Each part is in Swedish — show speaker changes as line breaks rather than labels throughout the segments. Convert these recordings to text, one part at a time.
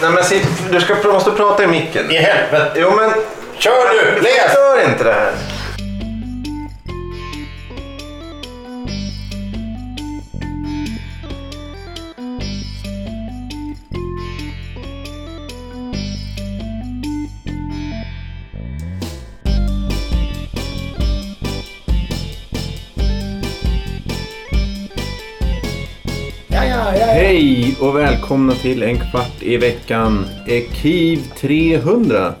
Nej men sitt, du ska, du måste prata i micken.
I helvete.
Jo men...
Kör nu, läs!
Gör inte det här.
Ja, ja, ja.
Hej och välkomna till en kvart i veckan. Ekiv 300.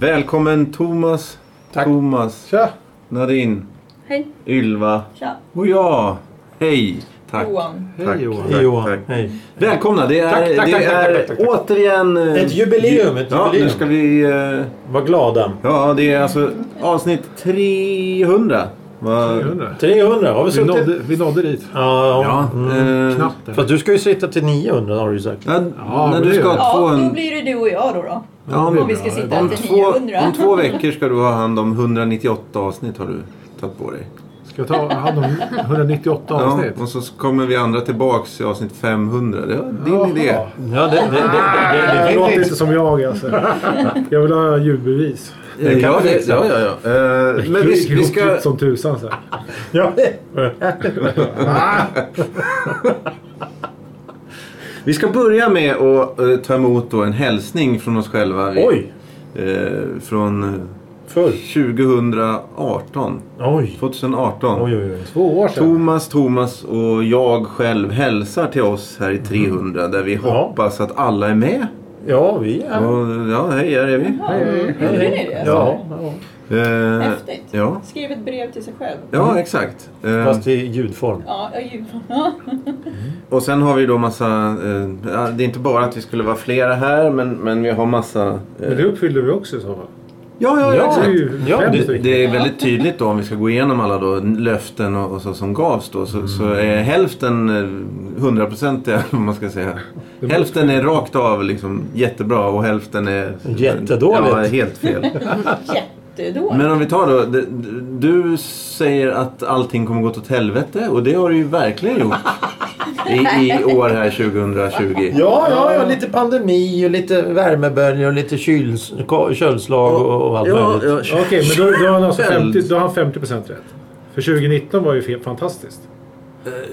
Välkommen Thomas,
Tack.
Thomas,
Tja.
Nadine,
Hej.
Ylva
Tja.
och jag. Hej. Tack.
Johan.
Tack,
Hej Johan.
tack,
Hej Johan.
tack.
Hej.
Välkomna! Det är,
Tack, tack,
det
tack, tack,
är
tack, tack, tack.
återigen... eh,
Ett jubileum, ett
ja,
jubileum.
nu ska vi... eh,
Var glada.
Ja, det är alltså avsnitt 300. Va?
300.
300, har vi
Vi
suttit?
nådde, vi nådde dit.
Ja,
Ja,
ja. Mm.
eh,
Knappt. eller?
Fast du ska ju sitta till 900 har du ju sagt.
när,
Ja,
när
men
du
det
ska ha
är-
Ja, då
200...
blir det du och jag då. då.
Ja,
Om vi ska sitta
om,
till
två,
900.
om två veckor ska du ha hand om 198 avsnitt har du tagit på dig.
Ska jag ta hand om 198
Ja,
avsnitt?
och så kommer vi andra tillbaks i avsnitt 500. Det var din
Jaha.
idé.
Ja, det, det, det,
Det
det, det, det
låter
låter
inte som jag alltså. Jag vill ha ljudbevis.
Det
kan vi fixa.
Eh, ja, ja, ja. Eh, Men vi, vi ska...
Grovt som tusan så här.
Ja.
Vi ska börja med att eh, ta emot då en hälsning från oss själva. Vi,
Oj!
eh, från eh,
Förr.
2018.
Oj.
2018.
Oj, oj, oj.
Två år sedan.
Thomas, Thomas och jag själv hälsar till oss här i 300 där vi
Ja.
hoppas att alla är med.
Ja, vi är...
Och, ja, hej, här är vi.
Ja, gjorde ni det?
Mm.
Ja, ja.
Eh,
Häftigt.
Ja,
Skrev ett brev till sig själv.
ja exakt. Eh,
Fast i ljudform.
Ja, jag ljuger. Ja.
Och sen har vi då massa, eh, ja, det är inte bara att vi skulle vara flera här men, men vi har massa... Eh,
Men det uppfyllde vi också i så fall.
ja, ja, ja,
Ja,
Det är
exakt.
ju
Ja,
fem
det-
stycken.
Det är väldigt tydligt då om vi ska gå igenom alla då, löften och, och så som gavs då. Så, så är hälften eh, hundraprocentiga, om man ska säga. Hälften är rakt av liksom jättebra och hälften är...
Jättedåligt.
Ja, helt fel.
Jättedåligt.
Men om vi tar då. d- d- Du säger att allting kommer gått åt helvete och det har du ju verkligen gjort. I, i år här 2020.
Ja, ja, ja, lite pandemi och lite värmeböljor och lite kyls, ko- kölslag och, och allt
Ja,
möjligt.
ja,
Okej, men då, då har han alltså
Själv.
50, då har han 50 procent rätt. För 2019 var ju fe- fantastiskt.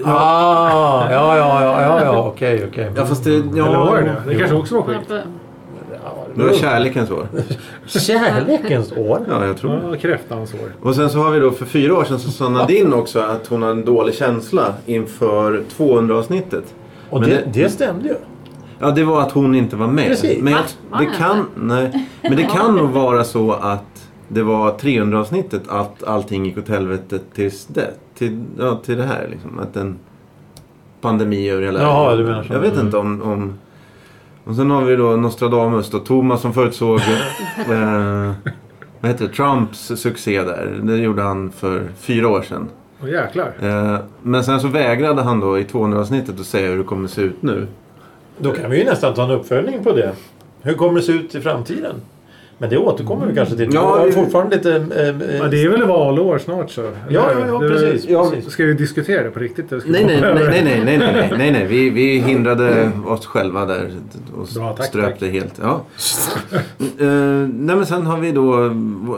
Ah, ja, ja, ja, ja, ja, okej, okej.
ja, fast det...
Eller var
Ja,
det det? Det kanske också var skit.
det var kärlekens år.
Kärlekens år.
Ja, jag tror det.
Ja, kräftans år.
Och sen så har vi då för fyra år sedan så sa Nadine också att hon har en dålig känsla inför 200-avsnittet.
Och
Men
det,
det-
det, stämde ju.
Ja, det var att hon inte var med.
Precis.
Men, jag,
Va?
det
Va?
kan, nej, men det kan nog vara så att det var 300-avsnittet att allting gick åt helvete tills det, till, ja, till det här. Liksom. Att en pandemi över hela
Jaha,
världen.
du menar så.
Jag vet inte om... om och sen har vi då Nostradamus då, Thomas som förutsåg eh, vad heter det, Trumps succé där. Det gjorde han för fyra år sedan.
Åh jäklar.
Eh, men sen så vägrade han då i 200-avsnittet att säga hur det kommer se ut nu.
Då kan vi ju nästan ta en uppföljning på det. Hur kommer det se ut i framtiden? Men det återkommer vi kanske till.
Ja,
Ja,
vi-
vi... fortfarande lite... ehm, eh,
Ja, det är väl valår snart så? eller?
ja, ja,
Det-
precis,
ja,
precis.
Ska vi diskutera det på riktigt? eller ska vi
Nej, nej,
hoppa över?
nej, nej, nej, nej, nej, nej, nej. Vi, vi hindrade oss själva där och
Bra, tack,
ströp
tack.
det helt. Ja. Eh, nej, men sen har vi då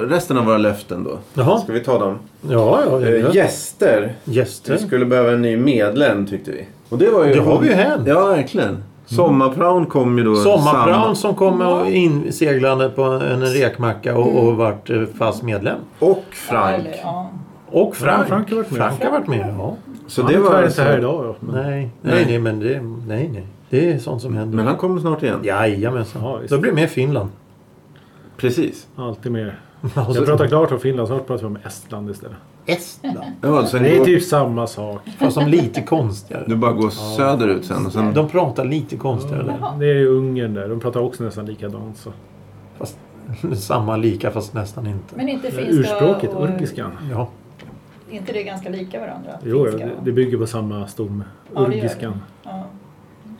resten av våra löften då.
Jaha.
Ska vi ta dem?
Ja, ja.
Eh,
ja, ja.
Eh, gäster. Vi
Gäster.
skulle behöva en ny medlem tyckte vi. Och det var ju...
Det har vi ju hänt.
Ja,
Mm.
verkligen. Sommarpraon kom ju då.
Sommarpraon
samma-
som kom och in seglande på en rekmacka och, och
Mm.
vart eh, fast medlem.
Och
Ja,
Frank.
eller, ja.
Och Frank.
Ja, Frank har varit med. Mm.
Frank har varit med, ja.
Så
Han är tyvärr
alltså-
inte här idag då.
Nej, nej, nej, men det, nej, nej. Det är sånt som händer.
Men han kommer snart igen.
Ja,
Jajamensan.
visst.
Då blir det med Finland.
Precis.
Alltid med.
Alltså,
Jag pratar klart om Finland, snart pratar vi om Estland istället.
Estland.
Ja, sen
Det är
går-
typ samma sak.
Fast som lite konstigare.
Du bara går söderut sen och sen...
De pratar lite konstigare där.
Det är ju Ungern där, de pratar också nästan likadant. Så.
Fast,
Mm.
samma lika fast nästan inte.
Men inte finska
Urspråket,
och...
urgiskan.
Ja.
är inte det ganska lika varandra?
Jo, ja,
Finska,
det,
va?
det bygger på samma stom.
Ja, det gör
Urgiskan.
Ja.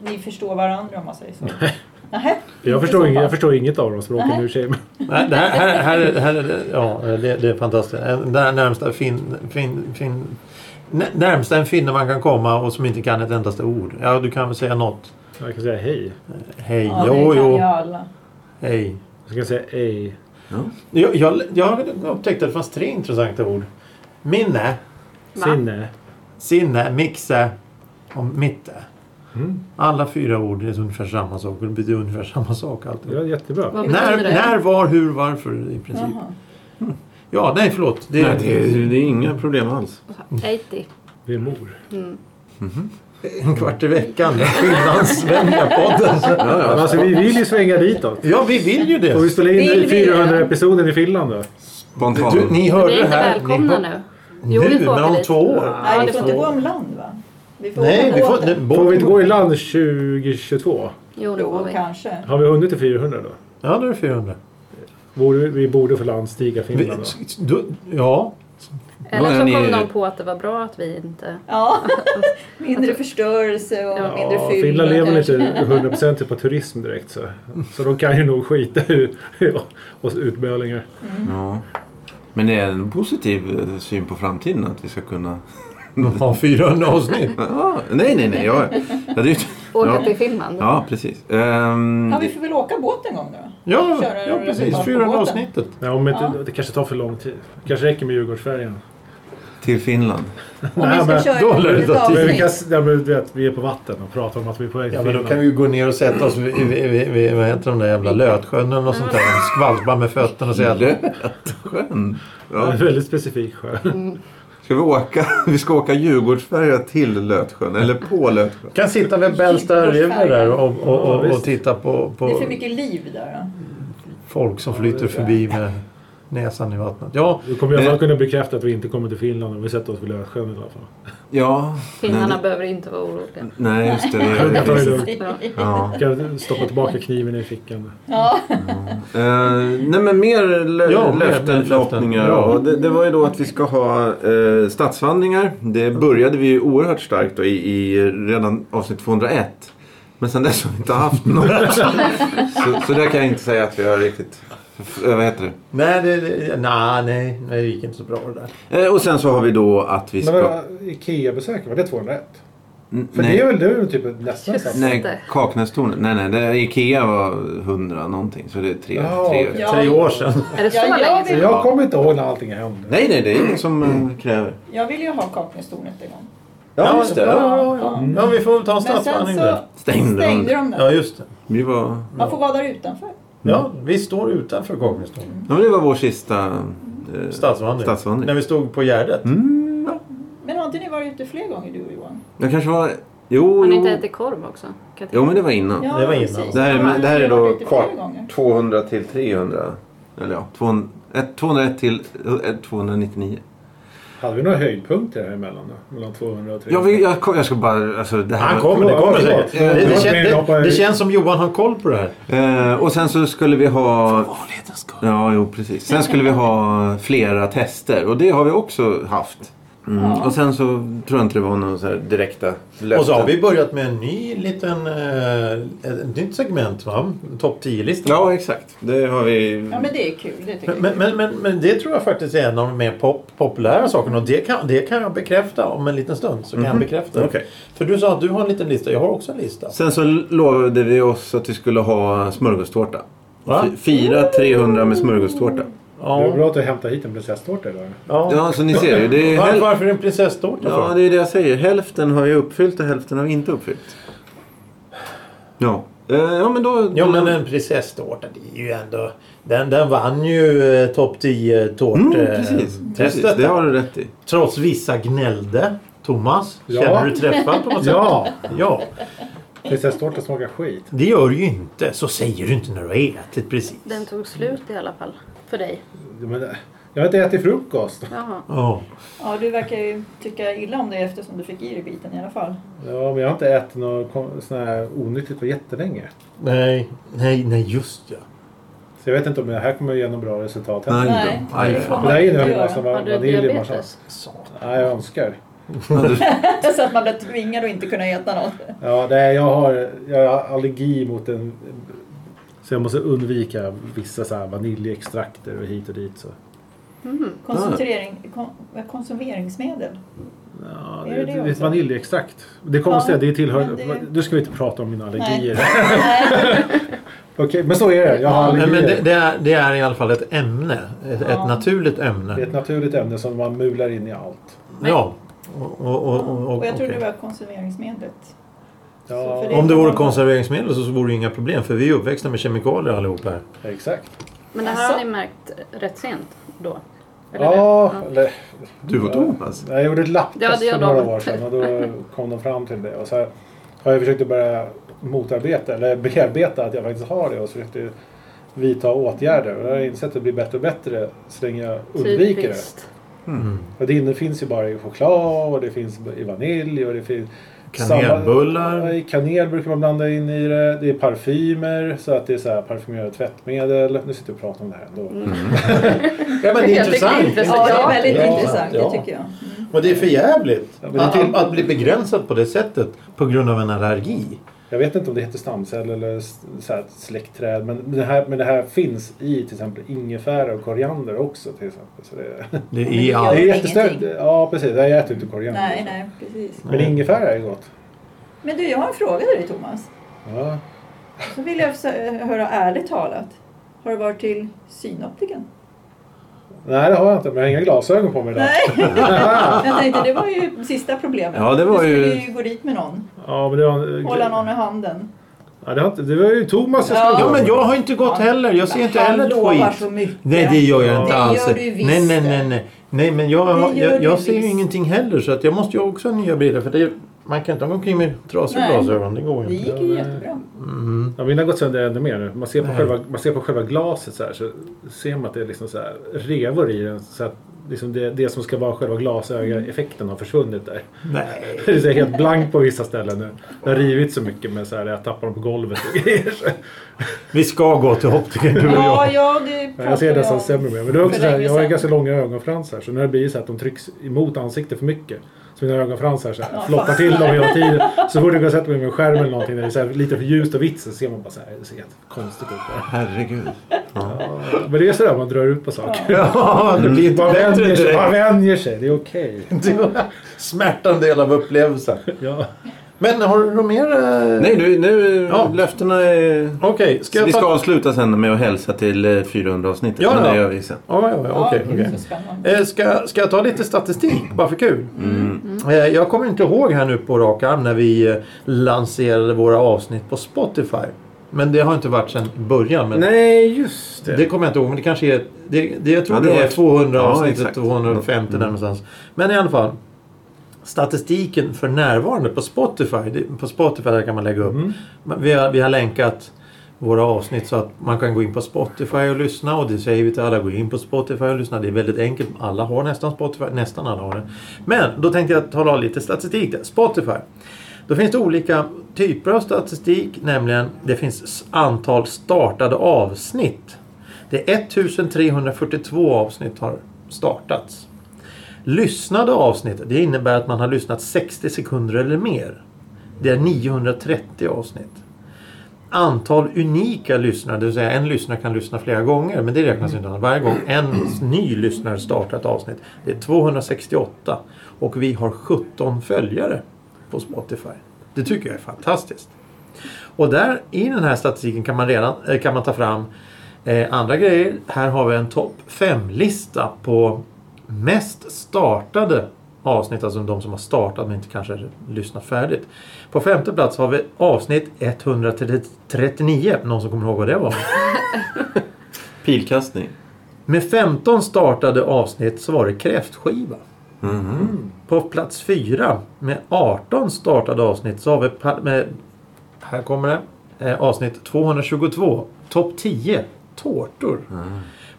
Ni förstår varandra om man säger så. Nej.
Jag förstår, inget, jag förstår inget av de språken nu tjej. men-
Nej, det här, här, här, är- här är det, ja, det, det är fantastiskt. Den här närmsta fin, fin, fin, nä- närmsta en finne man kan komma och som inte kan ett endaste ord. Ja, du kan väl säga något.
Jag kan säga hej.
Hej,
Ja,
jo,
det kan
jo.
ju alla.
Hej.
Jag ska säga ej.
Jag, jag, jag upptäckte att det fanns tre intressanta ord. Minne,
Va?
Sinne.
sinne, mixe och mitte.
Mm.
Alla fyra ord är ungefär samma sak och det betyder ungefär samma sak alltid.
Det var jättebra.
Vad betyder
När,
det?
när, var, hur, varför i princip.
Jaha.
Ja, nej förlåt. Det,
Nej, det, är, det är inga problem alls.
80.
Det är mor.
En kvart i veckan. Finlandssvenska podden.
Ja, ja.
Alltså, vi vill ju svänga ditåt.
Ja, vi vill ju
Och vi
det.
spelar in
Vill vi?
400-episoden i Finland då.
Spontan.
Du, ni hörde
Vi är
det
inte
här. Ni
välkomna
hör,
nu. Jo, vi
nu,
får
men
åka
om
dit.
två år.
Nej,
det
vi får
får
inte
vi.
gå omland va? Vi får
Nej,
åka
vi får,
båten.
Får
nej,
vi
båten
inte gå i land 2022?
Jo, det får
Jo,
vi.
kanske.
Har vi hunnit till 400 då?
Ja, då är det 400.
Borde, vi borde få landstiga
Vi,
Finland då.
du, ja,
Då är
Eller så
ni-
kom de på att det var bra att vi inte...
Ja, mindre förstörelse och mindre
Ja,
fyll.
Finland lever väl
kanske.
inte 100% på turism direkt så. Så de kan ju nog skita i oss utbölingar.
Ja. Men det är en positiv eh, syn på framtiden att vi ska kunna...
ha 400 avsnitt.
Ja, nej, nej, nej. Jag, jag, det är ju-
Åka
ja.
till Finland.
ja, precis. Ehm,
Ja, vi får väl åka båt en gång då.
Ja,
Köra
ja precis.
reportage på
400
båten.
avsnittet.
Nej, om inte,
Ja.
Det kanske tar för lång tid. Det kanske räcker med Djurgårdsfärjan.
Till Finland.
Om vi ska
men
köra
då
ett
lär det
litet
ta tid.
Men vi, kan,
avsnitt.
ja, men du vet, vi är på vatten och pratar om att vi är på väg till
Ja, men då kan
Finland.
vi ju gå ner och sätta oss vid, vid, vid, vid vad heter de där jävla Lötsjön eller något sånt där. Skvalpa med fötterna och säga att
Lötsjön.
Det är
Ja.
en väldigt specifik sjö.
Ska vi åka? Vi ska åka Djurgårdsfärja till Lötsjön. Eller på Lötsjön.
kan sitta vid Bellsta River där och, och,
Ja,
och, och
visst.
titta på,
Det är
på
för mycket liv där. Då.
folk som flyter förbi med näsan i vattnet. Ja,
Vi kommer i alla fall kunna bekräfta att vi inte kommer till Finland om vi sätter oos vid Lötsjön i alla fall.
Ja.
Finnarna
Nej, Mm.
behöver inte vara oroliga.
nej, just det. det,
Hugga
det,
tar det
det
lugnt.
Ja.
ja.
Vi kan stoppa tillbaka kniven i fickan.
Ja,
Eh, nej men mer lö-
Ja, mer- mer
löften,
löften.
förhoppningar.
Ja.
Och det, det var ju då att vi ska ha eh, stadsvandringar. Det började vi ju oerhört starkt då, i, i redan avsnitt 201. Men sen dess har vi inte haft något. så, så där kan jag inte säga att vi har riktigt... f- eh, Vad heter
nej, det, det, nej, nej, nej, det gick inte så bra det där.
det? Eh, och sen så har vi då att vi ska...
Ikea-besöket, var det 201?
N-
För
nej.
det är väl nu typ nästan samma?
Nej, Kaknästornet. Nej, nej. Det, Ikea var 100 någonting. Så det är tre.
Ja,
tre.
okej.
Ja.
Tre år sedan.
Är det så
Ja, jag
länge
Så
sedan?
vill-
jag kommer inte ihåg när allting hände.
Nej, nej. Det är ingen som eh, kräver.
jag vill ju ha Kaknästornet en gång.
Ja, just det.
Ja, ja, ja. ja vi får väl ta en
Men sen
stadsvandring
så
där.
Stängde de
stängde de
Ja,
den.
just det.
Vi var...
Man får vara där utanför.
Ja, vi står utanför Kaknästornet.
Ja, men det var vår sista eh,
Stadsvandring.
stadsvandring.
När vi stod på Gärdet.
Mm, ja.
Men har inte ni varit ute fler gånger du och Johan?
Jag kanske var... Jo,
Har ni
jo.
inte ätit korv också? Katin?
jo men det var innan.
Ja,
Det var innan.
precis.
Det, här
Ja,
är, det här
ni
är
har
då
varit ute fler
kvar
gånger.
200 till 300. Eller ja, 200, ett- 201 till eh, 299.
Hade vi några höjdpunkter här emellan då? Mellan 200 och 300?
Jag, vill, jag, kom- jag ska bara... Alltså, det här
Han
var-
kommer, det kommer säkert.
Ja,
Det, det, kän- det, det känns som Johan har koll på det här.
Eh, och sen så skulle vi ha... Ja, jo precis. Sen skulle vi ha flera tester och det har vi också haft. Mm.
Ja.
Och sen så tror jag inte det var några så här direkta löften.
Och så har vi börjat med en ny liten... eh, ett nytt segment va? Topp 10-listan.
Ja, exakt. Det har vi...
Ja, men det är kul. Det tycker
Men,
jag.
men, men, men det tror jag faktiskt är en av de mer pop, populära sakerna och det kan, det kan jag bekräfta om en liten stund. Så kan jag bekräfta. det.
Mhm. Okej.
För du sa att du har en liten lista, jag har också en lista.
Sen så lovade vi oss att vi skulle ha smörgåstårta.
Va?
F- Fira 300 med smörgåstårta.
Det var
Ja.
bra att du hämtade hit en prinsesstårta idag.
Ja.
Ja, så ni ser ju. Det är
Var,
häl-
varför en prinsesstårta
ja,
för?
det är det jag säger. Hälften har jag uppfyllt och hälften har vi inte uppfyllt. Ja. Eh, Ja, men då...
Ja men en prinsesstårta det är ju ändå... Den, den vann ju eh, topp 10
Mm,
tårttestet.
precis, precis. Det har du rätt i.
Trots vissa gnällde. Thomas,
Ja.
känner du träffad på något sätt?
Ja!
ja.
Prinsesstårta smakar skit.
Det gör du ju inte. Så säger du inte när du har ätit precis.
Den tog slut i alla fall. För dig.
Men, eh, jag har inte ätit frukost.
Jaha.
Ja.
Ja, du verkar ju tycka illa om det eftersom du fick i dig biten i alla fall.
Ja, men jag har inte ätit något kon- sån här onyttigt på jättelänge.
Nej, nej, nej just ja.
Så jag vet inte om det här kommer att ge något bra resultat. heller.
Nej,
Nej.
då. Aj,
Det här innehöll ju massa
Har du
vanilj och massa...
diabetes?
Satan.
Nej, jag önskar.
Så att man blir tvingad att inte kunna äta något.
Ja, nej, jag, har, jag har allergi mot en... Så jag måste undvika vissa så här vaniljextrakter och hit och dit. Så.
Koncentrering, kon, konsumeringsmedel.
Ja,
Är
det,
det
det,
det
är
också?
Vaniljeextrakt. Det kommer
Ja,
säga, det tillhör...
men det-
Nu ska vi inte prata om mina allergier.
Nej.
Okej, men så är det. Jag har allergier.
Nej, men det, det, är, det är i alla fall ett ämne. Ett,
Ja.
ett naturligt
det är
ämne.
ett naturligt ämne som man mular in i allt.
Ja. Och, och, och, och,
Och jag trodde
okej.
det var konserveringsmedlet.
Ja,
för
Om det vore konserveringsmedel så så vore det inga problem för vi är uppväxta med kemikalier allihop här.
exakt.
Men det här
Jaså?
har ni märkt rätt sent då? Eller det?
Ja, eller...
Du och Thomas.
Jag gjorde ett
Ja,
lapptest
det gör
för några
de.
år sedan och då kom de fram till det. Och så här, har jag försökt att börja motarbeta eller bearbeta att jag faktiskt har det och så försökte jag vidta åtgärder. Och jag har insett att det blir bättre och bättre så länge jag undviker det.
Typiskt.
Och det inne finns ju bara i choklad och det finns i vanilj och det finns...
Kanelbullar.
Samma, i kanel brukar man blanda in i det. Det är parfymer så att det är så här parfymerade tvättmedel. Nu sitter vi och pratar om det här ändå.
Ja, men det är
Mm. Jag tycker det är
intressant.
intressant.
Ja, det är väldigt
Ja,
intressant.
ja.
Det tycker jag.
Och det är för jävligt
Ja, men det till-
att, att bli begränsad på det sättet på grund av en allergi.
Jag vet inte om det heter stamcell eller s- så här släktträd. Men det, här, men det här finns i till exempel ingefära och koriander också. Till exempel. Så det,
Det
det
är
gör
det
all...
är
ingenting.
jättestört. Ja precis, jag äter inte koriander.
Nej, nej, precis.
Men ingefära är gott.
Men du, jag har en fråga till dig Thomas.
Ja.
Så vill jag försö- höra ärligt talat. Har du varit till synoptiken?
Nej det har jag inte, men jag har inga glasögon på mig idag.
Nej, jag tänkte det var ju sista problemet.
Ja, det var
du skulle
ju-
ju gå dit med någon.
Ja, men det, var,
Hålla någon i handen.
Ja, det, har inte, det var ju Thomas jag skulle gå
Ja men
med.
jag har inte gått heller. Jag ser inte
Han
heller ett
lovar
skit.
så mycket.
Nej det gör jag inte
Det
alls.
gör du visst.
nej nej nej nej. Nej men jag,
Det
har-
gör
jag,
du
jag ser ju
visst.
ingenting heller så att jag måste ju också ha nya brillor för det, man kan inte gå omkring med trasiga
Nej.
glasögon. Det går
Det
ju inte.
gick ju jättebra.
Ja, mina har gått sönder ännu mer nu. Man ser på,
Nej.
själva, man ser på själva glaset så här så ser man att det är liksom så här revor i den. Så att liksom det, det som ska vara själva glasögoneffekten har försvunnit där.
Nej.
Det är så här helt blank på vissa ställen nu. Det har rivit så mycket med så här, jag tappar dem på golvet och grejer.
Vi ska gå till optiker du och
Ja,
jag.
ja, det
Ja, Jag ser
pratade
nästan
om
sämre med. Men det är också
för
så här,
länge
jag har ju
sedan.
ganska långa ögonfransar så när det blir så här att de trycks emot ansiktet för mycket. Så mina ögonfransar så här,
Ja,
floppar till dem hela tiden. Så fort jag går och sätter mig med en skärm eller någonting där det är så här, lite för ljust och vitt så ser man bara så här, det ser helt konstigt ut. Bara.
Herregud.
Men det är sådär man drar ut på saker.
Ja, det blir inte
Man
bättre
vänjer sig, man
direkt.
vänjer sig. Det är okej.
Smärtan del av upplevelsen.
Ja.
Men har du något mer? eh?
Nej, nu, nu
Ja.
löftena är...
Okej, ska jag
vi ska
ta...
avsluta sen med att hälsa till 400-avsnittet.
Ja,
men
ja.
det gör vi sen.
Ja, ja, ja,
Ja,
okej.
det är
okej.
så spännande.
Eh, Ska, ska jag ta lite statistik bara för kul?
Mm.
Eh, Jag kommer inte ihåg här nu på rak arm när vi eh, lanserade våra avsnitt på Spotify. Men det har inte varit sedan början. Men
Nej, just
det kommer jag inte ihåg. Men det kanske är... Det, det, jag tror
Ja,
det,
det
var
är-
200
ja,
avsnittet,
exakt. Mm.
250 där någonstans. Men i alla fall. Statistiken för närvarande på Spotify. det- På Spotify där kan man lägga upp. Men Vi, har, vi har länkat våra avsnitt så att man kan gå in på Spotify och lyssna och det säger vi till alla, gå in på Spotify och lyssna. Det är väldigt enkelt. Alla har nästan Spotify, nästan alla har det. Men då tänkte jag tala om lite statistik där. Spotify. Då finns det olika typer av statistik, nämligen det finns s- antal startade avsnitt. Det är 1342 avsnitt har startats. Lyssnade avsnitt, det innebär att man har lyssnat 60 sekunder eller mer. Det är 930 avsnitt. Antal unika lyssnare, det vill säga en lyssnare kan lyssna flera gånger, men det räknas inte. Varje gång en ny lyssnare startar ett avsnitt, det är 268. Och vi har 17 följare på Spotify. Det tycker jag är fantastiskt. Och där i den här statistiken kan man, redan, eh, kan man ta fram eh, andra grejer. Här har vi en topp 5-lista på mest startade avsnitt, alltså de som har startat men inte kanske lyssnat färdigt. På femte plats har vi avsnitt 139, någon som kommer ihåg vad det var?
Pilkastning.
Med 15 startade avsnitt så var det kräftskiva. På plats 4 med 18 startade avsnitt så har vi pa- med, här kommer det, eh, avsnitt 222. Topp 10 tårtor.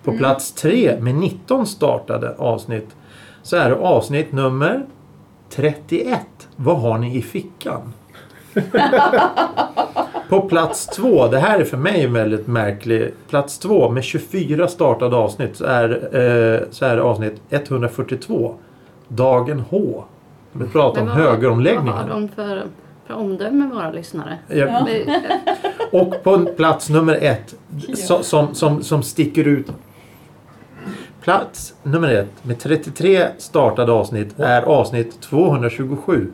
På
Mm.
plats 3 med 19 startade avsnitt så är det avsnitt nummer 31. Vad har ni i fickan? På plats två, det här är för mig en väldigt märklig. Plats två med 24 startade avsnitt så är, eh, så är det avsnitt 142. Dagen H. Vi pratar om
Men vad-
högeromläggningen.
Vad har de för, för omdöme våra lyssnare?
Ja.
Det-
Och på plats nummer ett, så, som, som, som sticker ut. Plats nummer ett med 33 startade avsnitt är avsnitt 227.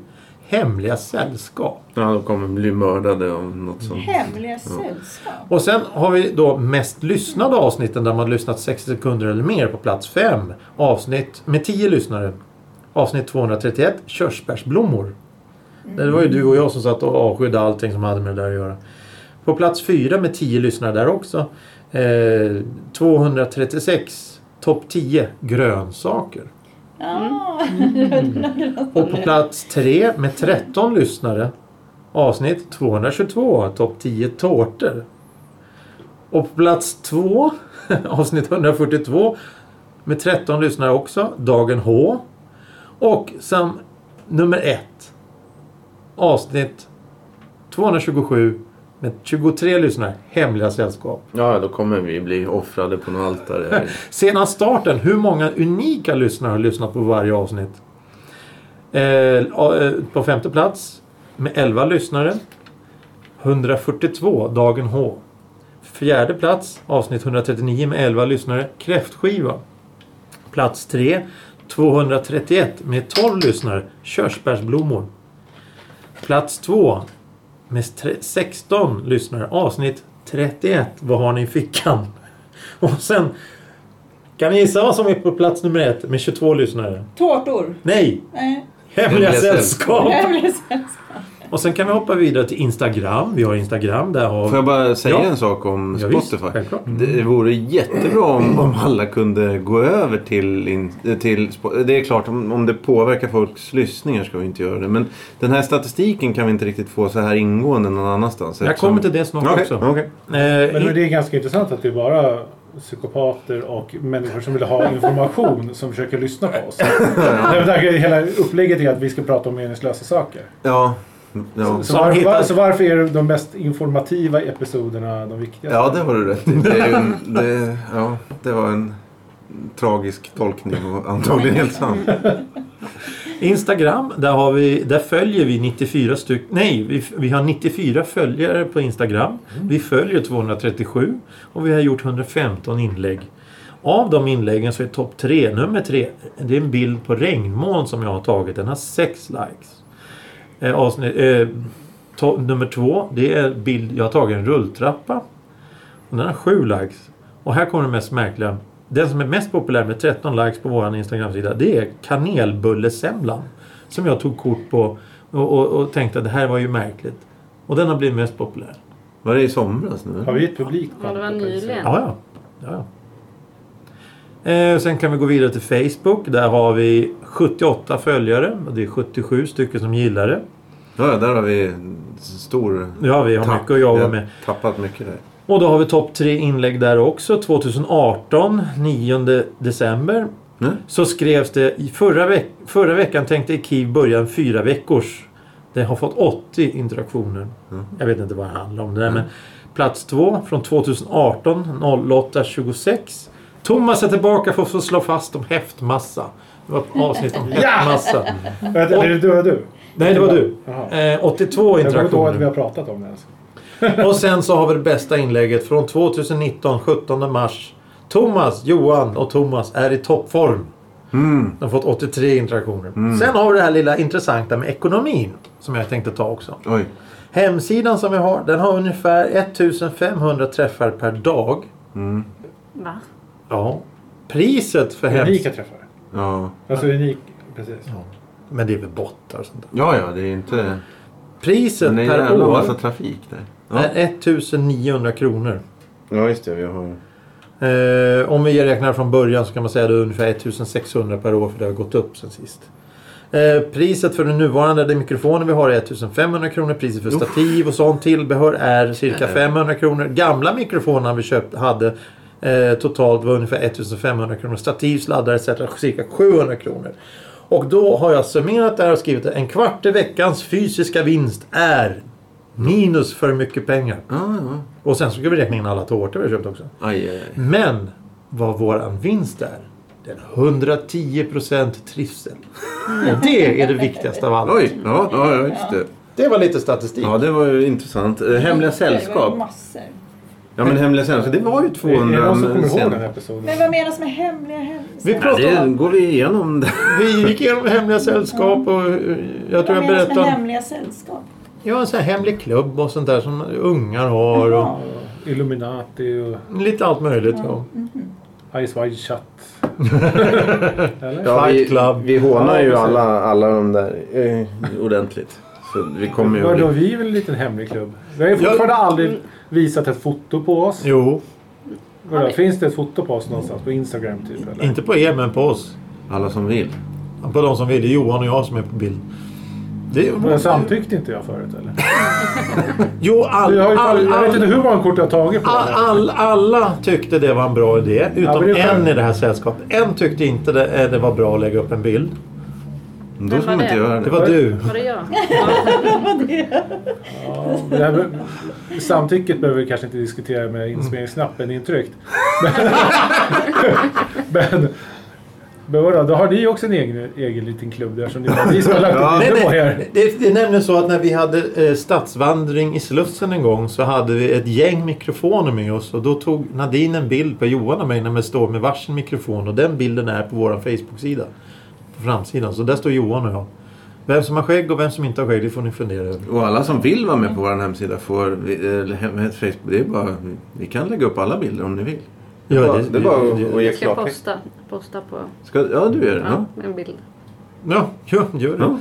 Hemliga sällskap.
Ja, de kommer bli mördade av något sånt.
Hemliga sällskap.
Och sen har vi då mest lyssnade avsnitten där man har lyssnat 60 sekunder eller mer på plats 5. Avsnitt med 10 lyssnare. Avsnitt 231, Körsbärsblommor. Det var ju du och jag som satt och avskydde allting som hade med det där att göra. På plats 4 med 10 lyssnare där också. Eh, 236, topp 10, grönsaker.
Ja,
Och på plats 3 med 13 lyssnare. Avsnitt 222, topp 10 tårtor. Och på plats 2, avsnitt 142, med 13 lyssnare också, Dagen H. Och sen nummer 1, avsnitt 227 med 23 lyssnare, Hemliga sällskap.
Ja, då kommer vi bli offrade på något altare. här.
Sedan starten, hur många unika lyssnare har lyssnat på varje avsnitt? Eh, eh, på femte plats med 11 lyssnare. 142, Dagen H. Fjärde plats, avsnitt 139 med 11 lyssnare, Kräftskiva. Plats 3, 231 med 12 lyssnare, Körsbärsblommor. Plats 2, med tre- 16 lyssnare, avsnitt 31, Vad har ni i fickan? Och sen kan ni gissa vad som är på plats nummer ett med 22 lyssnare?
tårtor.
Nej!
Nej,
Hemliga
Hemliga
sällskap!
hemliga sällskap.
Och sen kan vi hoppa vidare till Instagram. Vi har Instagram. Där har...
Får jag bara säga
Ja.
en sak om
Ja, visst,
Spotify?
självklart.
det vore jättebra om, om alla kunde gå över till, in, eh, till Spo- Det är klart, om, om det påverkar folks lyssningar ska vi inte göra det. Men den här statistiken kan vi inte riktigt få så här ingående någon annanstans.
Jag kommer till det snart
Okej,
också.
okej.
Eh,
Men
i-
det är ganska intressant att det är bara psykopater och människor som vill ha information som försöker lyssna på oss. Nej, men där är Hela upplägget är att vi ska prata om meningslösa saker.
Ja. Ja.
Så,
Mm. Som
var,
hittar-
var, så varför är de mest informativa episoderna de viktigaste?
ja, det har du rätt i. Det, är ju en- det, ja, det var en tragisk tolkning och antagligen helt sant.
Instagram, där, har vi, där följer vi 94 styck... Nej, vi, vi har 94 följare på Instagram. Vi följer 237 och vi har gjort 115 inlägg. Av de inläggen så är topp 3, nummer 3, det är en bild på regnmoln som jag har tagit. Den har 6 likes. Eh, avsnitt, eh, to, nummer 2, det är en bild, jag har tagit en rulltrappa. Och den har 7 likes. Och här kommer det mest märkliga. Den som är mest populär med 13 likes på vår Instagram-sida det är kanelbullesemlan. Som jag tog kort på och, och, och tänkte att det här var ju märkligt. Och den har blivit mest populär.
Var det i somras
Har
nu?
vi ett publikkonto?
Ja, det var
på Instagram?
nyligen.
Ja, ja. ja, ja. Eh, sen kan vi gå vidare till Facebook. Där har vi 78 följare. Och det är 77 stycken som gillar det.
Ja, där har vi en stor...
Ja, vi har mycket att jobba med.
Tappat mycket där.
Och då har vi topp tre inlägg där också. 2018, 9 december.
Mm.
Så skrevs det i förra, veck förra veckan tänkte Ekiv börja en fyra veckors. Det har fått 80 interaktioner. Jag vet inte vad det handlar om det där men plats två från 2018 0826. Thomas är tillbaka för att få slå fast om häftmassa. Det var ett avsnitt om häftmassa.
Vänta, är det du och du?
Nej, det var du.
Jaha.
Eh, 82
Jag kommer inte ihåg att vi
interaktioner.
har pratat om det ens.
Och sen så har vi det bästa inlägget från 2019, 17 mars. Thomas, Johan och Thomas är i toppform.
Mm.
De har fått 83 interaktioner. Sen har vi det här lilla intressanta med ekonomin. Som jag tänkte ta också.
Oj.
Hemsidan som vi har, den har ungefär 1500 träffar per dag.
Va?
Ja. Priset för
Unika
hemsidan...
träffar.
Ja.
Alltså unik, precis.
Men det är väl bottar och sånt där.
ja, ja, det är inte...
Priset
Men det är en
per
jävla
år
massa trafik där.
är 1900 kronor.
ja just det. Vi har...
Eh, om vi räknar från början så kan man säga att det är ungefär 1600 per år för det har gått upp sen sist. Eh, priset för den nuvarande den mikrofonen vi har är 1500 kronor. Priset för stativ och sånt tillbehör är cirka 500 kronor. Gamla mikrofonerna vi köpt hade eh, totalt var ungefär 1500 kronor. Stativ, sladdar etc. cirka 700 kronor. Och då har jag summerat det här och skrivit att en kvart i veckans fysiska vinst är minus för mycket pengar.
Ja, ja.
Och sen så ska vi räkna in alla tårtor vi har köpt också.
Aj, aj, aj.
Men vad våran vinst är, den 110% trivsel. Och det är det viktigaste av allt.
Oj, ja, ja, ja, just det.
Det var lite statistik.
Ja, det var ju intressant. Eh, Hemliga
Det var
sällskap.
massor.
Ja men Hemliga sällskap, det var ju
Är det
200
någon som kommer ihåg
sen-
den här episoden?
Men vad menas med hemliga hemsor?
Vi
Ja,
pratade
det
om...
går vi igenom där.
Vi gick igenom hemliga sällskap och eh, jag tror
Vad menas
jag
med
berättade om...
hemliga sällskap?
Ja, en sån här hemlig klubb och sånt där som ungar har och
Jaha.
Illuminati och
lite allt möjligt. Ja.
Ice Wide Shut. Eller?
Ja,
Fight
vi,
Club.
vi hånar
Ja,
ju
precis.
alla, alla de där eh, ordentligt. Så vi kommer ju...
Vadå, vi är väl en liten hemlig klubb? Vi har ju fortfarande
Mm.
aldrig visat ett foto på oss.
Jo,
Vadå,
Har vi?
finns det ett foto på oss någonstans? På Instagram typ? Eller?
inte på er men på oss.
Alla som vill.
På de som vill. Det är Johan och jag som är på bild. Det
Men
är...
samtyckte inte jag förut eller?
Jo, all,
Jag, har ju
all,
tagit, jag vet inte
all,
hur många kort jag har tagit på
all,
det.
all, alla tyckte det var en bra idé.
Ja,
Utom
men det är
en
skönt.
i det här sällskapet. En tyckte inte det, eh, det var bra att lägga upp en bild.
Då ska
var
man inte
det?
göra
Det
det.
var du.
Var det jag?
Ja, men det här med- Samtycket behöver vi kanske inte diskutera
Mm.
med inspelningsknappen intryckt. Men, men, men vadå, då har ni också en egen, egen liten klubb där som ni, ni som har lagt
Ja.
upp
Nej,
bilder på er.
nej. Det, det är nämligen så att när vi hade eh, stadsvandring i Slussen en gång så hade vi ett gäng mikrofoner med oss och då tog Nadine en bild på Johan och mig när vi står med varsin mikrofon och den bilden är på vår Facebook-sida. På framsidan. Så där står Johan och jag. Vem som har skägg och vem som inte har skägg, det får ni fundera över.
Och alla som vill vara med på vår hemsida får... vi- eller hem- hem- Facebook, det är bara... Vi kan lägga upp alla bilder om ni vill.
Ja,
det är bara att- att ge
Jag ska
klartecken.
posta, posta på
Ska- Ja, du gör det. Ja.
ja, en bild.
Ja, gör, gör det.
Ja.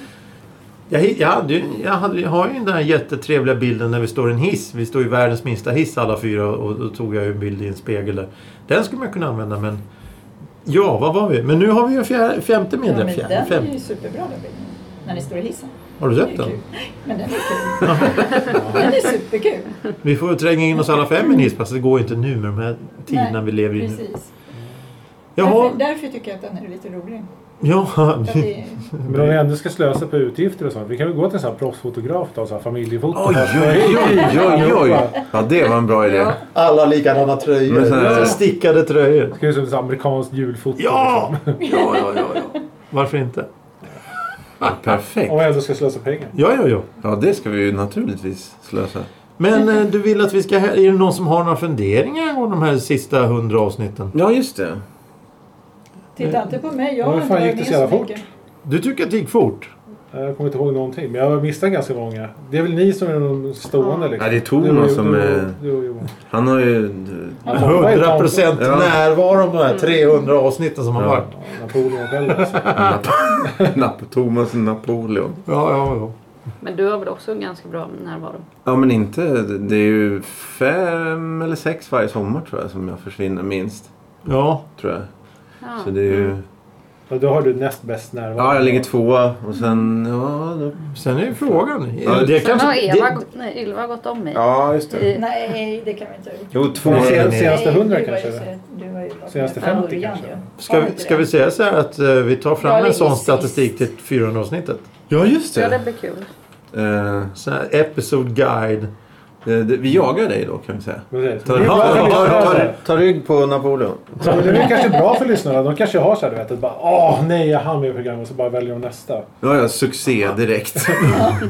Jag, hi- jag, hade, ju- jag, hade, jag har ju den här jättetrevliga bilden när vi står i en hiss. Vi står i världens minsta hiss alla fyra och då tog jag ju en bild i en spegel där. Den skulle man kunna använda men... Ja, vad var vi? Men nu har vi ju en fjär, femte
Ja,
medlem.
men
fjär,
den
fem,
är ju superbra den bilden. När ni står i hissen.
har du
Det är
sett den?
kul. Men den är kul. den är superkul.
Vi får tränga in oss alla fem i en hiss fast det går ju inte nu med de här tiderna
Nej,
vi lever i nu.
Precis.
Jaha,
Därför, därför tycker jag att den är lite rolig.
ja.
För att det är-
Men om ni ändå ska slösa på utgifter och sånt. Vi kan väl gå till en sån här proffsfotograf då, så här familjefoto.
Oj, oj, oj, oj, oj. Ja, det var en bra idé.
Ja.
Alla likadana
Men så här-
tröjor. Stickade tröjor.
Ska ju som ett amerikanskt julfoto. liksom.
Ja! Ja, ja, ja, ja. Varför inte?
Ja, perfekt.
Om jag ändå ska slösa pengar.
Ja, ja, ja.
Ja, det ska vi ju naturligtvis slösa.
Men eh, du vill att vi ska... Är det någon som har några funderingar angående de här sista hundra avsnitten?
Ja, just det.
Titta inte på mig,
Men
jag har
vad
inte
fan
varit
gick
med
det så jävla
så
fort?
mycket.
Du tycker att det gick fort?
Jag kommer inte ihåg någonting. Men jag missade ganska många. Det är väl ni som är de stående liksom.
Ja, det är Thomas
Du och-
som
du och-
är-
Du och Johan.
Han har ju... eh,
Ja, Tompa är
100 procent
Ja.
närvaro på de här 300 avsnitten som har
Ja.
varit.
Ja, Napoleon själv alltså.
Nap- Thomas Napoleon.
Ja, ja, ja.
Men du har väl också en ganska bra närvaro?
Ja, men inte... Det är ju fem eller sex varje sommar tror jag som jag försvinner minst.
Ja,
Tror jag.
Ja. Mm.
Så det är ju...
Ja, då har du näst bäst närvaro.
Ja, jag ligger tvåa och sen... Ja, då...
sen är ju frågan.
Ja,
det
Sen
kanske...
har Eva,
Det,
gått, nej, Ylva gått om mig.
ja just
I,
Nej, det kan vi inte ha
Jo,
gjort.
två...
Nej, sen-
Ja,
Senaste
Nej,
100
du var ju
kanske,
så- Du var ju bara
Senaste
med från
50
början
kanske.
ju.
ska,
Var
vi-
inte
ska
det?
vi säga så här att eh, vi tar
Jag
fram en
ligger
sån
sist.
statistik till 400 avsnittet?
ja just
ja, det
det.
blir kul.
Eh,
Så här episode guide.
det- det- vi jagar dig då kan vi säga.
Precis.
Ta,
Det är bra för
ta, ta, ta,
lyssnarna. alltså.
ta rygg på Napoleon.
Men Det är kanske bra för lyssnarna. De kanske har så här, du vet, att bara åh nej, jag hann med i programmet och så bara väljer de nästa.
Ja, ja, succé direkt.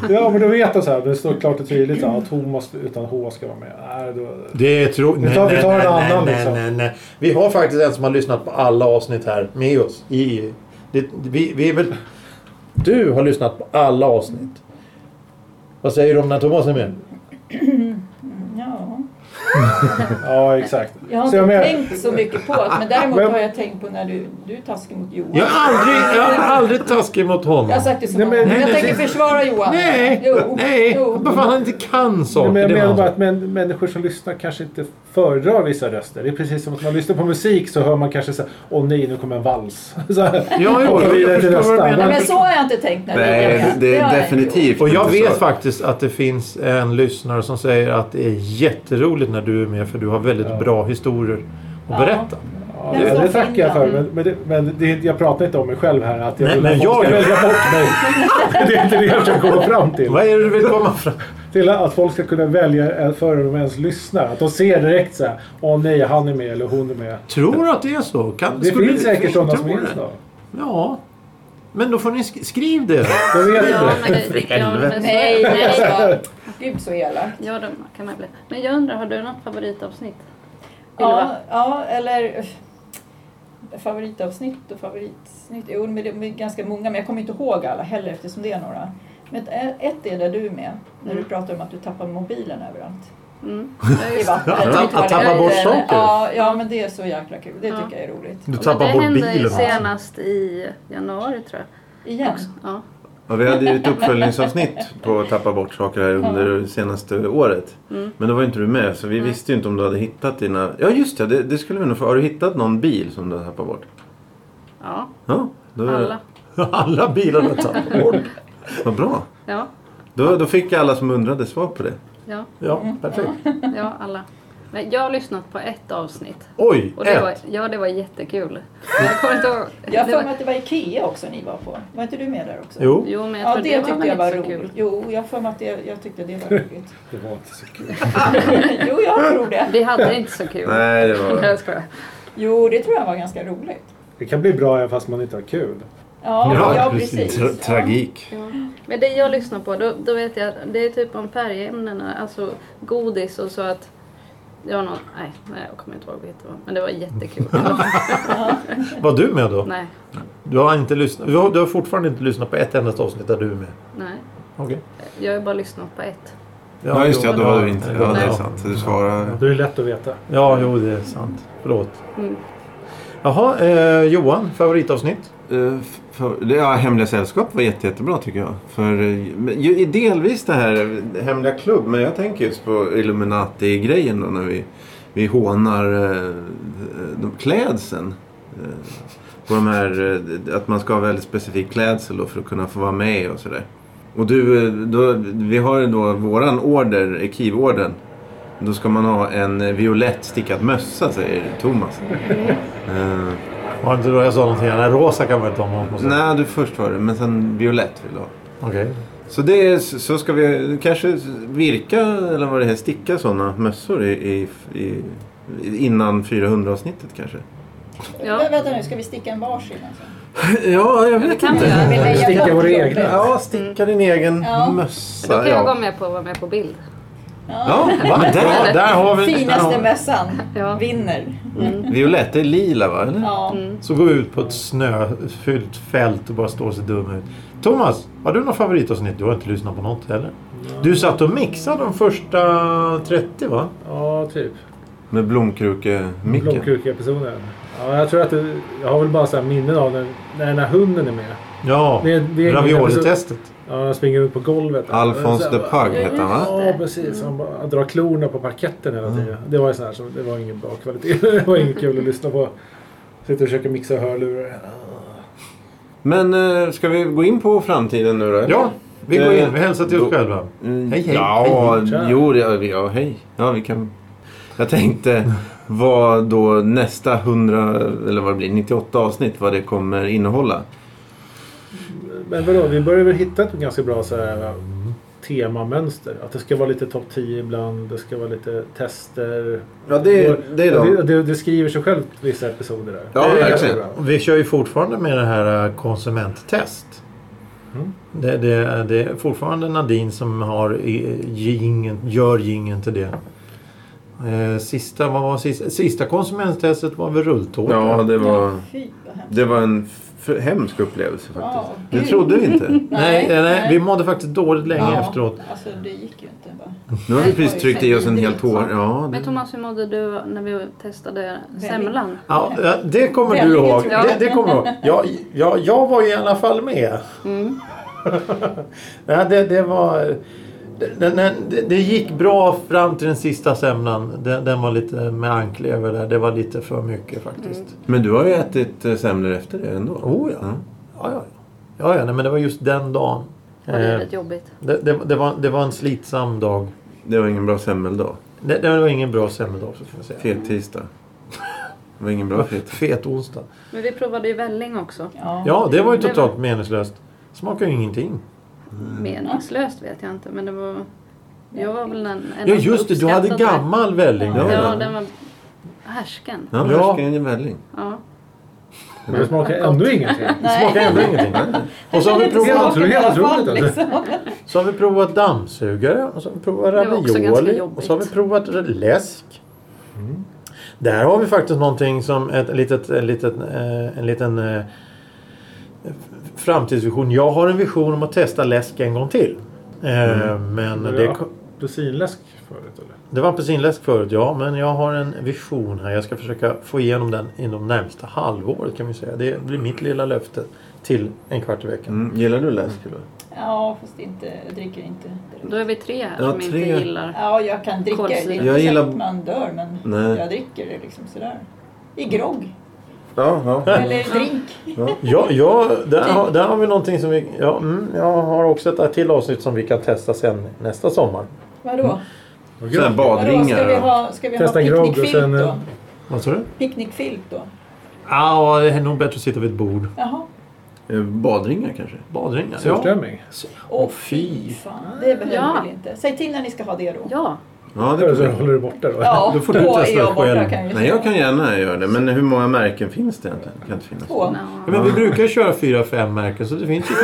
Ja, men då vet de så här. Det står klart och tydligt så här, att Thomas utan H ska vara med. Nej, då...
Det tror
Vi tar- vi tar en annan,
nej,
liksom.
nej, nej. Vi har faktiskt en som har lyssnat på alla avsnitt här med oss. I, det, vi, vi är väl, du har lyssnat på alla avsnitt. Vad säger du om när Thomas är med?
Ja.
Ja, exakt.
Jag har
Så jag
inte
menar-
tänkt så mycket på det, men däremot
Men-
har jag tänkt på när du, du är taskig mot Johan.
Jag är aldrig, jag är aldrig taskig mot honom.
Jag har sagt det så
Nej,
många
men-
gånger.
Nej,
Jag
nej,
tänker
nej.
försvara Johan.
Nej,
Jo.
nej.
Jo.
Vad fan han inte kan saker.
Nej, men jag
det var
menar
han
bara
sa.
att män, människor som lyssnar kanske inte föredrar vissa röster. Det är precis som att man lyssnar på musik så hör man kanske så här, åh nej, nu kommer en vals. Så här,
Ja, jo,
hoppar
jag
vidare till
förstår vad du
nästa.
menar.
Nej, men så har jag inte tänkt när Johan
Nej,
är.
det är
har jag inte
definitivt
Och jag
inte
vet
så.
faktiskt att det finns en lyssnare som säger att det är jätteroligt när du är med för du har väldigt
Ja.
bra historier att
Ja.
berätta.
Ja,
Den som
det tackar jag för.
Finland.
Men, men, det, men det, är inte- jag pratar inte om mig själv här. Att jag
Nej,
vill
men
att folk
jag
ska
gör-
välja bort mig. Det är inte det jag försöker komma fram till.
Vad är det du vill komma fram
Till att folk ska kunna välja en före de ens lyssnar. Att de ser direkt så här, åh nej, han är med eller hon är med.
Tror du att det är så? Kan,
Det
skulle
finns
du-
säkert sådana
tror
som
du
är
det?
så.
Ja. Men då får ni sk- skriv det.
Jag vet
Ja,
inte.
men det,
För
ja, men så,
Nej, nej.
nej.
ja. Gud så elak.
Ja, det kan man bli. Men jag undrar, har du något favoritavsnitt?
Ja,
Ylva?
ja, eller öff, favoritavsnitt och favoritsnitt. Jo, men det är ganska många, men jag kommer inte ihåg alla heller eftersom det är några. Men ett- eh, ett är där du är med, när du
Mm.
pratar om att du tappar mobilen överallt.
Mm.
I vattnet.
Ja, att- att tappa bort saker.
Ja, ja, men det är så jäkla kul. Det
Ja.
tycker jag är roligt.
Du tappar
det
bort
hände
bilen.
senast i januari tror jag.
Igen.
Också. Ja.
Ja, vi hade ju ett uppföljningsavsnitt på att tappa bort saker här under det senaste året.
Mm.
Men då var ju inte du med så vi
Nej.
visste ju inte om du hade hittat dina... Ja just det, det, det skulle vi nog få. Har du hittat någon bil som du har tappat bort?
ja,
Ja, då,
alla.
Alla bilarna tappar bort.
vad bra.
Ja,
Då, då fick alla som undrade svar på det.
ja,
Ja, perfekt.
ja, alla. Men jag har lyssnat på ett avsnitt.
Oj,
Och det var,
ett.
ja, det var jättekul. Men Jag kommer inte ihåg.
Jag har
det
för mig
var,
att det var Ikea också ni var på. Var inte du med där också?
Jo.
jo, men jag
Ja,
tror
det,
det, var
tyckte
väl
jag var
inte så
roligt.
kul.
Jo, jag har för mig att det, jag tyckte det var roligt.
Det var inte så kul.
jo, jag tror det.
Vi hade inte så kul.
Nej, det var...
Jag skojar.
Jo, det tror jag var ganska roligt.
Det kan bli bra även fast man inte har kul.
Ja, ja, precis.
Tra- tragik.
Ja. Men det jag lyssnar på, då, då vet jag att det är typ om färgämnena, alltså godis och så att... Det var någon, nej, nej, jag kommer inte ihåg vad det hette, men det var jättekul.
Var du med då?
nej,
Du har, inte lyssnat, du, har, du har fortfarande inte lyssnat på ett enda avsnitt där du är med.
nej.
Okej.
Jag har ju bara lyssnat på ett.
Ja just det, ja, då
men-
var du inte... Ja, det är
Ja.
sant. Du svarade...
Då är det lätt att veta.
Ja, jo, det är sant. Förlåt.
Mm.
Jaha, eh, Johan, favoritavsnitt?
Eh, För, det- ja, Hemliga sällskap var jätte, jättebra tycker jag. För, eh, men ju, i delvis det här eh, Hemliga klubb, men jag tänker just på Illuminati-grejen då när vi, vi hånar eh, de, klädseln. Eh, på de här, eh, att man ska ha väldigt specifik klädsel då för att kunna få vara med och sådär. Och du, eh, då, vi har ju då våran order, ekivorden. Då ska man ha en eh, violett stickad mössa säger Thomas. Eh,
Var det inte då jag sa någonting? Nej, rosa kan man inte ha någon på sig.
Nej, du först var det, men sen violett vill du ha.
Okej.
Så, det är, så ska vi kanske virka, eller vad det är, sticka sådana mössor i, i, i, innan 400-avsnittet kanske.
Ja.
Men vänta nu, ska vi sticka en varsin? Alltså?
Ja, jag
Men det
vet
kan vi
inte.
göra.
Vill
Men
jag
sticka
göra
våra
något
egna.
jobbigt?
Ja, sticka din egen
Ja.
Då
mössa.
kan jag gå
Ja.
med på att vara med på bild.
Ja, va? Där, där har vi...
Finaste mössan
Ja.
vinner.
Mm. Violett, det är lila va? Eller?
Ja.
Mm.
Så gå ut på ett snöfyllt fält och bara stå och se dum ut. Thomas, har du något favoritavsnitt? Du har inte lyssnat på något heller. Du satt och mixade de första 30 va?
Ja, typ.
Med blomkruke-micken.
Blomkruka-episoden. Ja, jag tror att det, jag har väl bara så här minnen av den, när den här hunden är med.
Ja,
Det är- det är-
raviolitestet.
Ja, han springer ut på golvet.
Alphonse
Så
de
här,
Pug hette han va?
Ja, precis. Han bara drar klorna på parketten hela tiden. Det var ju sån här som, det var ingen bra kvalitet. Det var inget kul att lyssna på. Sitter och försöker mixa hörlurar.
Men eh, ska vi gå in på framtiden nu då?
Ja, vi går
Eh,
in. Vi hälsar till oss
då-
själva.
Mm,
Hej, hej.
Ja,
Hej. Tja.
jo, ja, vi- ja, hej. Ja, vi kan... Jag tänkte vad då nästa 100, eller vad det blir, 98 avsnitt, vad det kommer innehålla.
Men vadå, vi börjar väl hitta ett ganska bra så här, temamönster. Att det ska vara lite topp 10 ibland. Det ska vara lite tester.
Ja, det, det är
det,
då.
det, det skriver sig självt vissa episoder där.
Ja,
Det är
verkligen.
jättebra.
Vi kör ju fortfarande med det här eh, konsumenttest.
Mm.
Det, det, det är fortfarande Nadine som har i- gingen, gör gingen till det. Eh, Sista, vad var sista, sista konsumenttestet var väl rulltårta?
Ja, det var,
Fy vad hemskt.
det var en f- hemsk upplevelse faktiskt.
Ja,
Det
gud.
trodde vi inte.
nej, nej, vi mådde faktiskt dåligt länge
Ja,
efteråt.
Alltså det gick ju inte bara.
Nu har vi precis tryckt i oss en hel tår. Ja,
Men
det,
Thomas, hur mådde du när vi testade semlan?
Ja, ja, det kommer du
Väldigt
ihåg.
bra.
Det, det kommer du ihåg. Jag, jag, jag var i alla fall med.
Mm.
Nej, det, det var... Det, det, det, det gick bra fram till den sista semlan. Den, den var lite med anklever där. Det var lite för mycket faktiskt.
Mm.
men du har ju ätit eh, semlor efter det ändå.
Oh ja.
Mm.
Ja, ja, ja. ja, ja nej, men det var just den dagen.
Var det
Eh,
rätt jobbigt?
det, det, det, var, det var en slitsam dag.
Det var ingen bra semmeldag.
Det, det var ingen bra semmeldag så får jag säga.
Fet tisdag. Det var ingen bra fet.
Fet onsdag.
Men vi provade ju välling också.
Ja.
Ja, det var ju
Det var-
totalt meningslöst. Smakar ju ingenting. Mm.
Meningslöst vet jag inte, men det var... Jag var väl den en
Ja,
som
just det. Du hade
uppskattade-
gammal välling.
Ja,
Ja,
ja.
den var härsken.
Ja,
Ja.
härsken i välling.
Ja.
Men det smakar ändå ingenting.
Det smakar ändå ingenting. Och så har vi
Det
provat,
låter ju helt otroligt.
Fan,
Alltså.
liksom.
så har vi provat dammsugare och så har vi provat
Det var också ganska
ravioli
jobbigt.
och så har vi provat läsk. Där har vi faktiskt någonting som ett litet, ett litet, eh, en liten eh, framtidsvision. Jag har en vision om att testa läsk en gång till. Eh, Men
Men
det,
det Apelsinläsk förut eller?
det var apelsinläsk förut, ja. Men jag har en vision här. Jag ska försöka få igenom den inom närmsta halvåret kan vi säga. Det blir mitt lilla löfte till en kvart i veckan.
Mm, gillar du läsk? eller?
Ja, fast inte, jag dricker inte direkt.
Då är vi tre här
Ja,
som
tre.
inte gillar.
Ja, jag kan dricka. Det är
Kolsyra.
inte
Jag
så
gillar-
att man dör, men
Nej.
jag dricker det liksom sådär. I grogg.
Ja, ja.
Eller drink.
Ja, ja där, har, där har vi någonting som vi... Ja, mm, jag har också ett till avsnitt som vi kan testa sen nästa sommar.
Vadå?
Sådana här
Vadå? Ska vi
badringar. och-
ha, ska vi ha
Testa grogg och
picknickfilt
sen,
då?
eh,
Vad sa du?
Picknickfilt då?
Ja, det är nog bättre att sitta vid ett bord.
Jaha.
eh, Badringar kanske?
Badringar? Ja.
Surströmming?
Åh
fy.
fan, det behöver
Ja.
vi inte. Säg till när ni ska ha det då.
Ja,
Ja,
Eller
det
så håller du borta då?
Ja,
Då får du
då
testa
är jag borta kan
själv.
jag
Nej,
ju säga.
jag kan gärna göra det. Men hur många märken finns det egentligen? Det kan inte finnas.
Två.
Ja, men vi brukar köra 4-5 märken så det finns ju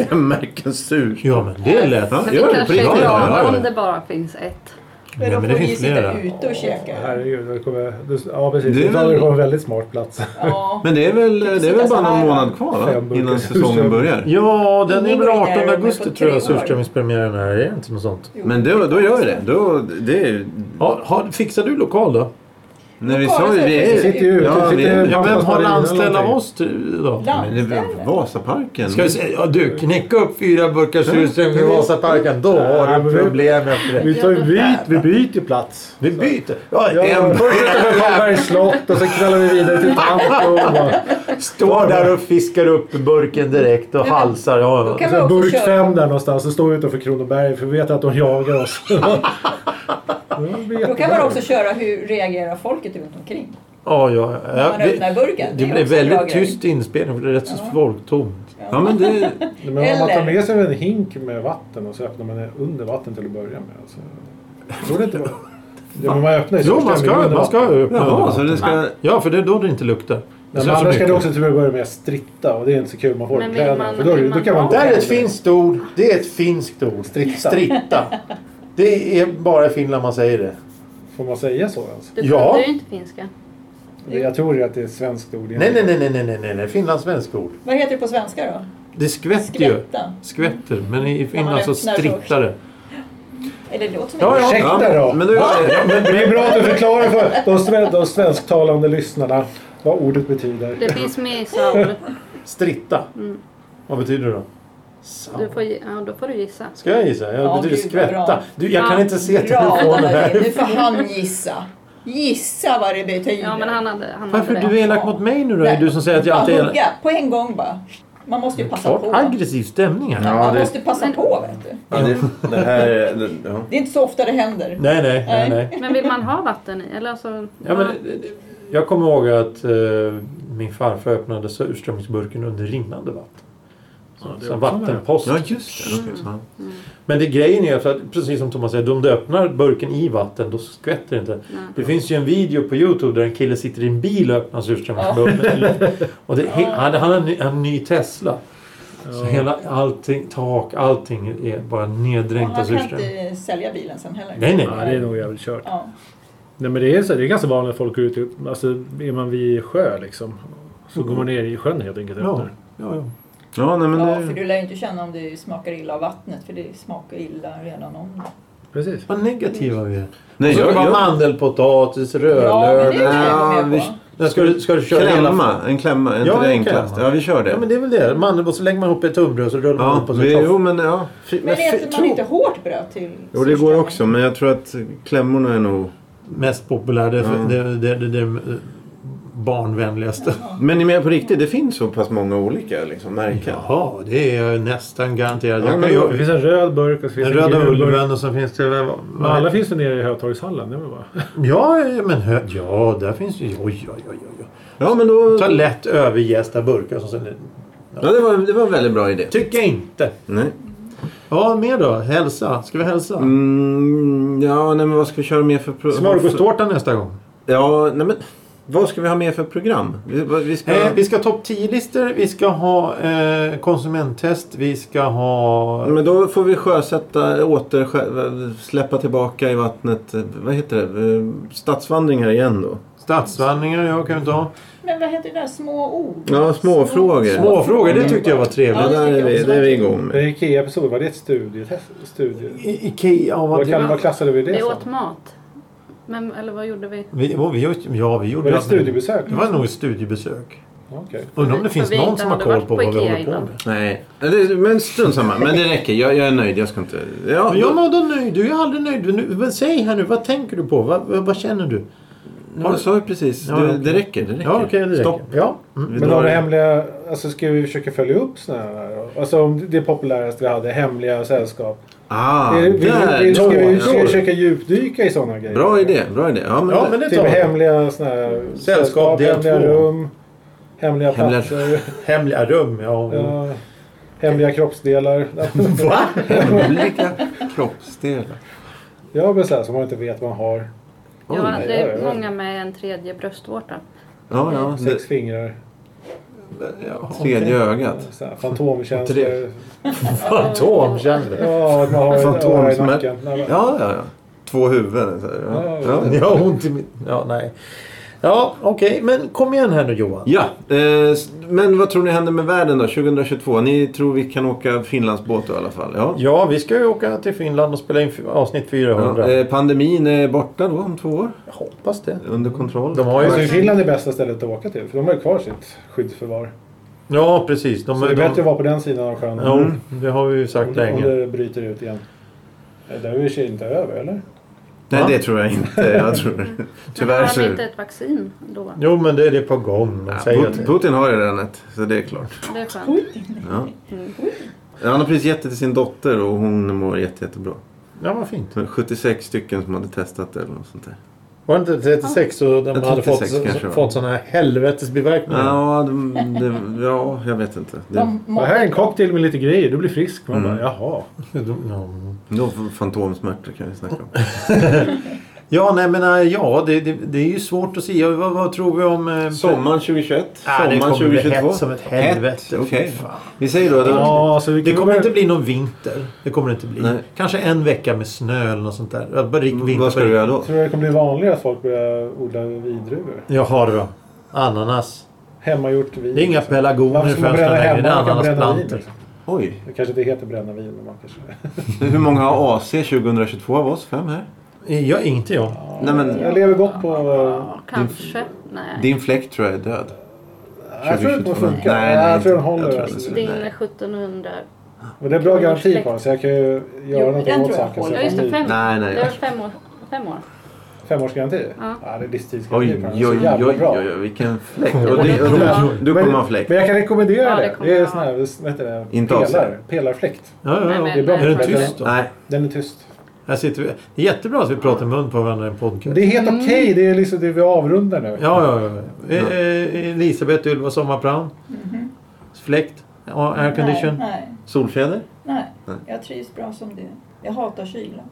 4-5.
Fem märken sur.
Ja men det är lätt.
Ja,
men
gör
det
det,
kanske
prick.
är
Ja, ja,
bra
ja.
om det bara finns ett.
Men
Nej,
då
men det
får vi ju
finns flera.
sitta ute och käka.
Herregud, det kommer, du- ja precis.
Det
Det
är väl-
kommer det kommer en väldigt smart plats.
Ja.
Men det är väl, det är väl bara någon månad kvar
Fem
va?
burkar.
Innan säsongen börjar.
Ja, den är väl
Ingen går där
18
om
augusti
det på
tror jag
tre år.
surströmmingspremiären är. Är det inte något sånt?
Jo.
Men då, då gör vi det. Då, det är,
Ja, har, fixar du lokal då?
när vi sa ju... Vi
Vi
är,
sitter ju ute.
Ja,
Ja,
vi-
sitter
Ja,
på
vem har
Pastarin eller
anställd av
någonting.
oss till- då?
men det är väl Vasaparken.
Ska vi se, ja, du, knäcka upp fyra burkar surströmming i Vasaparken. Då
Ja,
har
men
du
vi-
problem efter det.
Vi, tar ju byt, vi byter ju plats.
Vi byter. Ja,
Ja,
en
först sitter vi på Karlbergs slott och sen knallar vi vidare till Tanto. och bara-
står där och fiskar upp burken direkt och halsar.
Då
Ja,
kan vi
Så
också
Alltså, burk
köra.
fem där någonstans, så står vi utanför Kronoberg för vi vet att de jagar oss.
Då kan man också köra hur reagerar folket runt omkring.
ja, ja. ja.
man öppnar burken, det
Det
är
blev
också en bra
väldigt
grej.
tyst inspelning för det är rätt så
Ja.
folktomt.
Ja, men det...
Men om man tar
Eller-
med sig en hink med vatten och så öppnar man den under vatten till att börja med. Alltså. Tror det inte vara- Ja, men man öppnar ju
Jo,
först
man
med
ska,
munnen
man ska
vatten.
öppna
Jaha,
den.
så det ska...
Ja, för det är då det inte luktar.
Nej,
Det
men
så
annars ska det
mycket.
också till att börja med strikta och det är inte så kul. Man får
Men vill
kläderna.
man-
För då,
vill
då kan
man
man
ha-
Det här är ett finskt ord. Det är ett finskt ord.
Stritta.
Stritta. Det är bara i Finland man säger det.
Får man säga så ens?
Du
Ja.
kunde ju inte finska.
Jag tror ju att det är ett svenskt ord.
Nej, nej, nej, nej, nej, nej, nej, nej. Finlandssvenskt ord.
Vad heter det på svenska då?
Det skvätter ju.
Skvätta?
Skvätter. Men i
man
Finland så
öppnar så-
strittar det.
Eller det låter som
Ja,
en-
ja.
Ursäkta då!
Men då gör vi det.
Det är bra att du förklarar för de, sven- de svensktalande lyssnarna vad ordet betyder.
Det finns med i Saul.
Stritta.
Mm.
Vad betyder det då?
Du får, gi- ja, då får du gissa.
Ska jag gissa? Jag
Ja,
betyder
gud, vad
skvätta.
bra.
Du, jag kan
Ja,
inte se
Bra,
telefonen
Anna-Lena.
här.
nu får han gissa. Gissa vad det betyder.
Ja, men han hade, han
Varför
hade
är du
det.
elak mot mig nu då? Är du som säger att jag
Bara
alltid är
hugga, på en gång bara. Man måste ju passa
Klart
på.
aggressiv stämning här.
Ja,
Man
det-
måste passa
Men-
på vet du.
Ja, det, det här... är- det- Ja.
Det är inte så ofta det händer.
Nej, nej, nej,
Nej.
nej.
Men vill man ha vatten i? Eller alltså,
Ja, men, jag kommer ihåg att eh, min farfar öppnade surströmmingsburken under rinnande vatten. Så,
det är
så en
också
vattenpost.
Ja, just det. Okej, ja.
Men det grejen är för att, precis som Thomas säger, om du öppnar burken i vatten då skvätter det inte. Det finns ju en video på Youtube där en kille sitter i en bil och öppnar surströmmingsburken. och det, he- han, han har en ny, en ny Tesla. Så hela allting, tak, allting är bara
Och
neddränkt av
han kan
surströmming.
inte sälja bilen sen heller.
Nej, nej.
Ja, det är nog jävligt kört.
Ja.
Nej men det är, så, det är ganska vanligt att folk går ut i, alltså är man vid sjö liksom. Så går man ner i sjön helt enkelt.
Ja,
efter.
ja, ja.
Ja, nej, men
eh,
Ja, för
det...
du lär ju inte känna om det smakar illa av vattnet för det smakar illa redan om det.
Precis.
Vad negativa vi är.
Nej,
Och så
jag...
var
jag
mandelpotatis,
Ja, men det
rödlök.
är jag ändå med
vi-
på.
Ja, ska, du, ska du köra hela...
klämma. En klämma. Är inte
Ja,
det
en
enklast?
klämma.
Ja, vi kör
Ja, men
det.
det är väl det. Mandelbröd, så lägger man ihop i ett tunnbröd och så rullar man
Ja,
upp och så
vi,
tar-
jo, men ja.
Men
fy-
äter man
tro-
inte hårt bröd till
Jo, det går
surströmming?
också. Men jag tror att klämmorna är nog...
mest populära. Det, är för-
Ja.
det, det, det, det är eh, barnvänligaste.
Men ni menar på riktigt, det finns så pass många olika liksom, märken?
Jaha, det är jag nästan garanterat.
Ja,
Jag
men
kan
Det
ju,
finns en röd burk och så finns
den
det en
röda
gul burk.
ulven och så finns det... vad-
Men alla finns ju nere i Hötorgshallen. Det är väl bara.
Ja, men hö, ja, där finns ju... Oj, oj, oj, oj.
Ja, men då...
oj. Ta lätt överjästa burkar. Som sen,
Ja, det var, det var en väldigt bra idé.
tycker jag inte.
Nej.
Ja, mer då? Hälsa. Ska vi hälsa?
Mm, ja, nej, men vad ska vi köra mer för... pro-
Smörgåstårta nästa gång.
Ja, nej men... Vad ska vi ha med för program? Vi, vad- vi ska...
Eh, vi ska ha topp 10-listor, vi ska ha eh, konsumenttest, vi ska ha...
Men då får vi sjösätta, åter, sjö- släppa tillbaka i vattnet. eh, Vad heter det? Eh, Stadsvandring här igen då.
Stadsvandringar, ja kan vi ta.
Men vad heter det där? Små ord?
Ja, småfrågor.
Småfrågor, det tyckte jag var
Det
trevligt.
Ja.
där är vi, det är vi igång med.
En Ikea-episod, var det ett studietest? Studie?
I, Ikea, ja, vad
Vad, kan,
trevligt.
vad klassade vi det
Vi
som?
åt mat. Men, eller vad gjorde vi?
Vi, oh, vi, gjorde- ja, vi gjorde
Var det ett studiebesök?
Det var nog ett studiebesök.
Okej.
Undrar om det
För
finns
vi
någon
inte
som har
hade
koll
varit
på
på
vad vi
Ikea
håller på
innan.
med.
Nej, det- men strunt samma. Men det räcker. Jag, jag är nöjd. Jag ska inte... Ja,
Men jag var då nöjd. Du är aldrig nöjd. Nu, men säg här nu, vad tänker du på? Vad, vad, vad känner du?
Ja, jag sa ju precis.
Ja,
det,
okej.
det räcker. Det räcker.
Ja, okej, det räcker. Mm.
Stopp.
Ja.
Vi
Men
drar
har det
det.
hemliga... Alltså ska vi försöka följa upp sådana här? då? Alltså om det populäraste vi hade, hemliga sällskap.
Ah,
Är det- vill,
där!
vill, ska vi ska vi
Frågor.
försöka djupdyka i sådana grejer?
Bra idé. Bra idé. Ja, men,
Ja, men det
Typ
tar vi.
hemliga såna här...
del
hemliga
två.
rum. Hemliga
Hemliga-
platser.
Hemliga rum, ja.
ja, hemliga kroppsdelar.
Va?
Hemliga kroppsdelar.
ja men sådär som man inte vet man har.
Oj.
jag
nej,
hade
ja, ja.
många med en tredje bröstvårta.
Ja, ja. Det,
Sex fingrar.
ja tredje ögat.
Så här, Fantomkänslor.
Fantomkänsla.
Ja, att man har ett öra i
Fantomsmärt-
nacken. Nej, men-
Ja, ja, ja. Två huvuden. Så här.
Ja,
Ja. Ja.
Jag har ont i mitt... Ja, nej. Ja, okej. Men kom igen här nu Johan.
Ja, eh, s- men vad tror ni händer med världen då 2022? Ni tror vi kan åka Finlandsbåt då, i alla fall? Ja.
Ja, vi ska ju åka till Finland och spela in f- avsnitt 400.
Ja, eh, pandemin är borta då om två år?
eh.
Jag hoppas det.
Under kontroll?
De har
Alltså,
ju...
Finland är bästa stället att åka till. För de har ju kvar sitt skyddsförvar.
Ja, precis. De,
Så det är
de...
bättre att vara på den sidan av sjön. Mm.
Ja, det har vi ju sagt
Om, om
länge.
det bryter ut igen. Eh, Det är ju inte över, eller?
Nej,
Va?
det tror jag inte. Jag tror... Tyvärr
Men
så...
hade inte ett vaccin då?
Jo, men det är det på gång. De
Ja,
säger
Put-
det.
Putin har ju redan ett, så det är klart.
Det är skönt.
Ja.
Mm.
Han har precis gett det till sin dotter och hon mår jätte, jättebra.
Ja, vad fint.
Så 76 stycken som hade testat det eller något sånt där.
Var det inte 36 och de
Ja,
hade
36
fått,
kanske det var.
fått sådana här helvetesbiverkningar?
Ja, det, det, ja jag vet inte. Det,
De mådde-
cocktail med lite grejer. Du blir frisk. Man
Mm.
bara, jaha.
De- ja.
då fantomsmärtor kan vi snacka om.
Ja, nej men äh, ja, det, det, det är ju svårt att säga. Vad, vad tror vi om... eh,
Sommaren 2021?
Ah, det
sommaren
kommer bli
2022?
hett som ett helvete.
Hett, okej.
Fan.
Vi säger då... då
Ja, alltså, vi
Det
kan
kommer
väl-
inte bli någon vinter. Det kommer det inte bli.
Nej.
Kanske en vecka med snö eller något sånt där. Ja, Bara rik- vinter.
vad ska du göra då?
Tror du det kommer bli vanligare att folk börjar odla vindruvor?
Jaha då. Ananas.
Hemmagjort vin.
Det är inga pelargoner
Varför
i
ska man
fönstren
bränna
längre.
hemma?
Det
Man
är
kan bränna vin.
ananasplantor.
liksom.
Oj,
Det kanske inte heter bränna vin, men man kanske...
hur många har AC 2022 av oss? Fem här?
Ja, inte jag.
Nej, men,
Jag lever gott på...
Ja, kanske. Nej.
din fläkt tror jag är död.
Nej, jag tror inte den
2022.
funkar.
Nej,
Nej,
nej,
jag tror den
jag tror
håller.
den
Alltså.
är
Din
nej.
1700.
Men det är bra garanti på den, så jag kan ju göra
Jo,
någonting
den
åt
tror jag
saken. så
håller.
Ja
jag
just
får
det,
ny-
fem.
Nej, nej.
Det var fem år. Fem år.
Femårsgaranti?
Ja.
Ja, det är livstidsgaranti
Oj,
på den.
oj,
Så
oj,
jävla
oj,
bra.
oj, vilken fläkt.
Ja,
Och du,
det
och
tror jag.
du, du kommer ha fläkt.
Men jag kan rekommendera
Ja, det
det.
kommer
Det är
jag
sån här, vad heter det?
Inte
Pelar,
avsett.
pelarfläkt.
Ja, ja,
Nej,
ja.
men-
Det är bra.
Är den
Men-
tyst då?
Nej,
Den är tyst.
Här sitter vi. Det är jättebra att vi pratar i mun på varandra i en podcast.
Det är helt okej.
Mm.
Det är liksom det vi avrundar nu.
Ja, ja, ja. Eh, eh, Elisabeth Ylva Sommarplan. Fläkt. Ja,
Mhm. nej,
Aircondition.
nej,
solfjäder?
nej.
Nej.
Jag trivs bra som det är. Jag hatar kyla.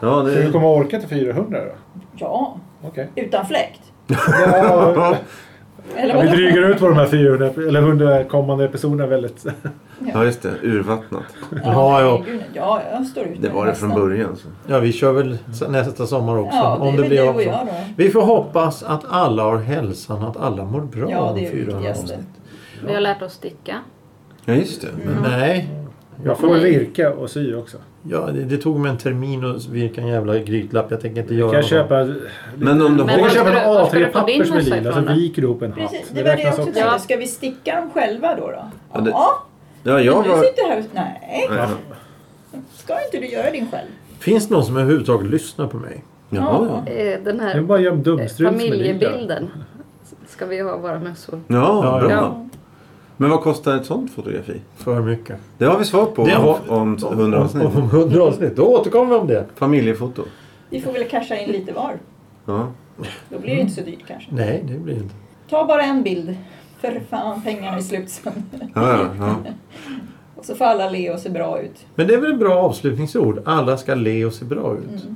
Ja,
Så du
det...
kommer orka till 400 då?
Ja,
Okej.
utan fläkt.
Ja,
Eller
vi
vadå?
dryger ut på de här 400, eller 100 kommande episoderna väldigt.
ja, just det. Urvattnat.
Ja, ja.
herregud. ja, jag står ut
Det
med
var det från
nästan.
början. Så.
Ja, vi kör väl s- nästa sommar också.
Ja, det är väl du och jag då.
Vi får hoppas att alla har hälsan, att alla mår bra
Ja,
om
det är ju
400
viktigast.
avsnitt.
Vi har lärt oss sticka.
Ja, just det.
Mm.
Nej,
Jag får väl virka och sy också.
ja, det, det tog mig en termin att virka en jävla grytlapp. Jag tänker inte göra
Kan jag
något.
köpa...
Men om du
Jag
har...
kan
var ska
köpa
du-
en
var ska du få din
A3-papper som är
mössa
lila, så
ifrån då?
viker du ihop en hatt.
Precis, det var det jag
räknas
också
också.
tänkte. Ska vi sticka dem själva då? då?
Ja, det-
Ja,
Ja, jag
men du
var...
sitter här och... Nej,
Ja.
ska inte du göra din själv?
Finns det någon som överhuvudtaget lyssnar på mig?
Jaha, ja.
Eh, Den
Det är
här
bara att göra en
eh,
dumstruts med lila.
familjebilden. Ska vi ha våra mössor?
Ja,
Ja,
bra. Men vad kostar ett sånt fotografi?
För mycket.
Det har vi svar på
Det
om,
har-
om 100 avsnitt.
Om 100 avsnitt. Då återkommer vi om det.
Familjefoto.
Vi får väl casha in lite var.
Ja.
Då blir det inte så dyrt kanske.
Nej, det blir det inte.
Ta bara en bild. För fan, pengarna är slut sen.
Ja, ja, ja.
Och så får alla le och se bra ut.
Men det är väl en bra avslutningsord.
Mm.
Alla ska le och se bra ut.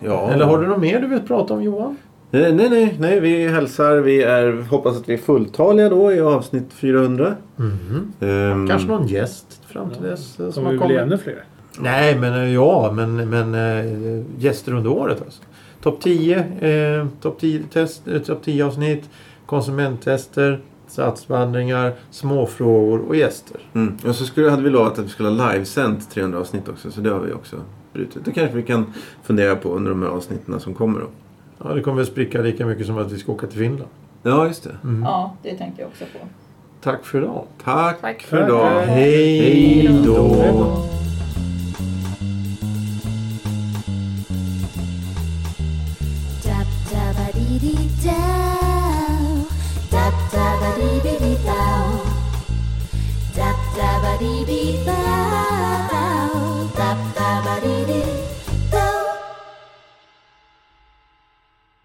ja. Mm.
Eller har du något mer du vill prata om Johan?
Eh, Nej, nej, nej. Vi hälsar. Vi är, hoppas att vi är fulltaliga då i avsnitt 400.
Mhm.
Ehm,
Kanske någon gäst fram till dess eh, som
Kommer
har
vi bli
kommit.
ännu fler?
Nej, men eh, ja, men, men eh, gäster under året alltså. Topp 10, eh, topp 10 test, eh, topp 10 avsnitt, konsumenttester, satsvandringar, småfrågor och gäster.
Mm. Och så skulle, hade vi lovat att vi skulle ha livesänt 300 avsnitt också. Så det har vi också brutit. Det kanske vi kan fundera på under de här avsnitten som kommer då.
Ja, det kommer väl spricka lika mycket som att vi ska åka till Finland.
Ja, just det.
Mm.
Ja, det tänkte jag också på.
Tack för idag.
Tack,
Tack.
för idag.
Tack.
Hej
Hej
då.
då.
Dab daba dee dee dow. Dab daba dee dee dee dow. Dab daba dee dee dow.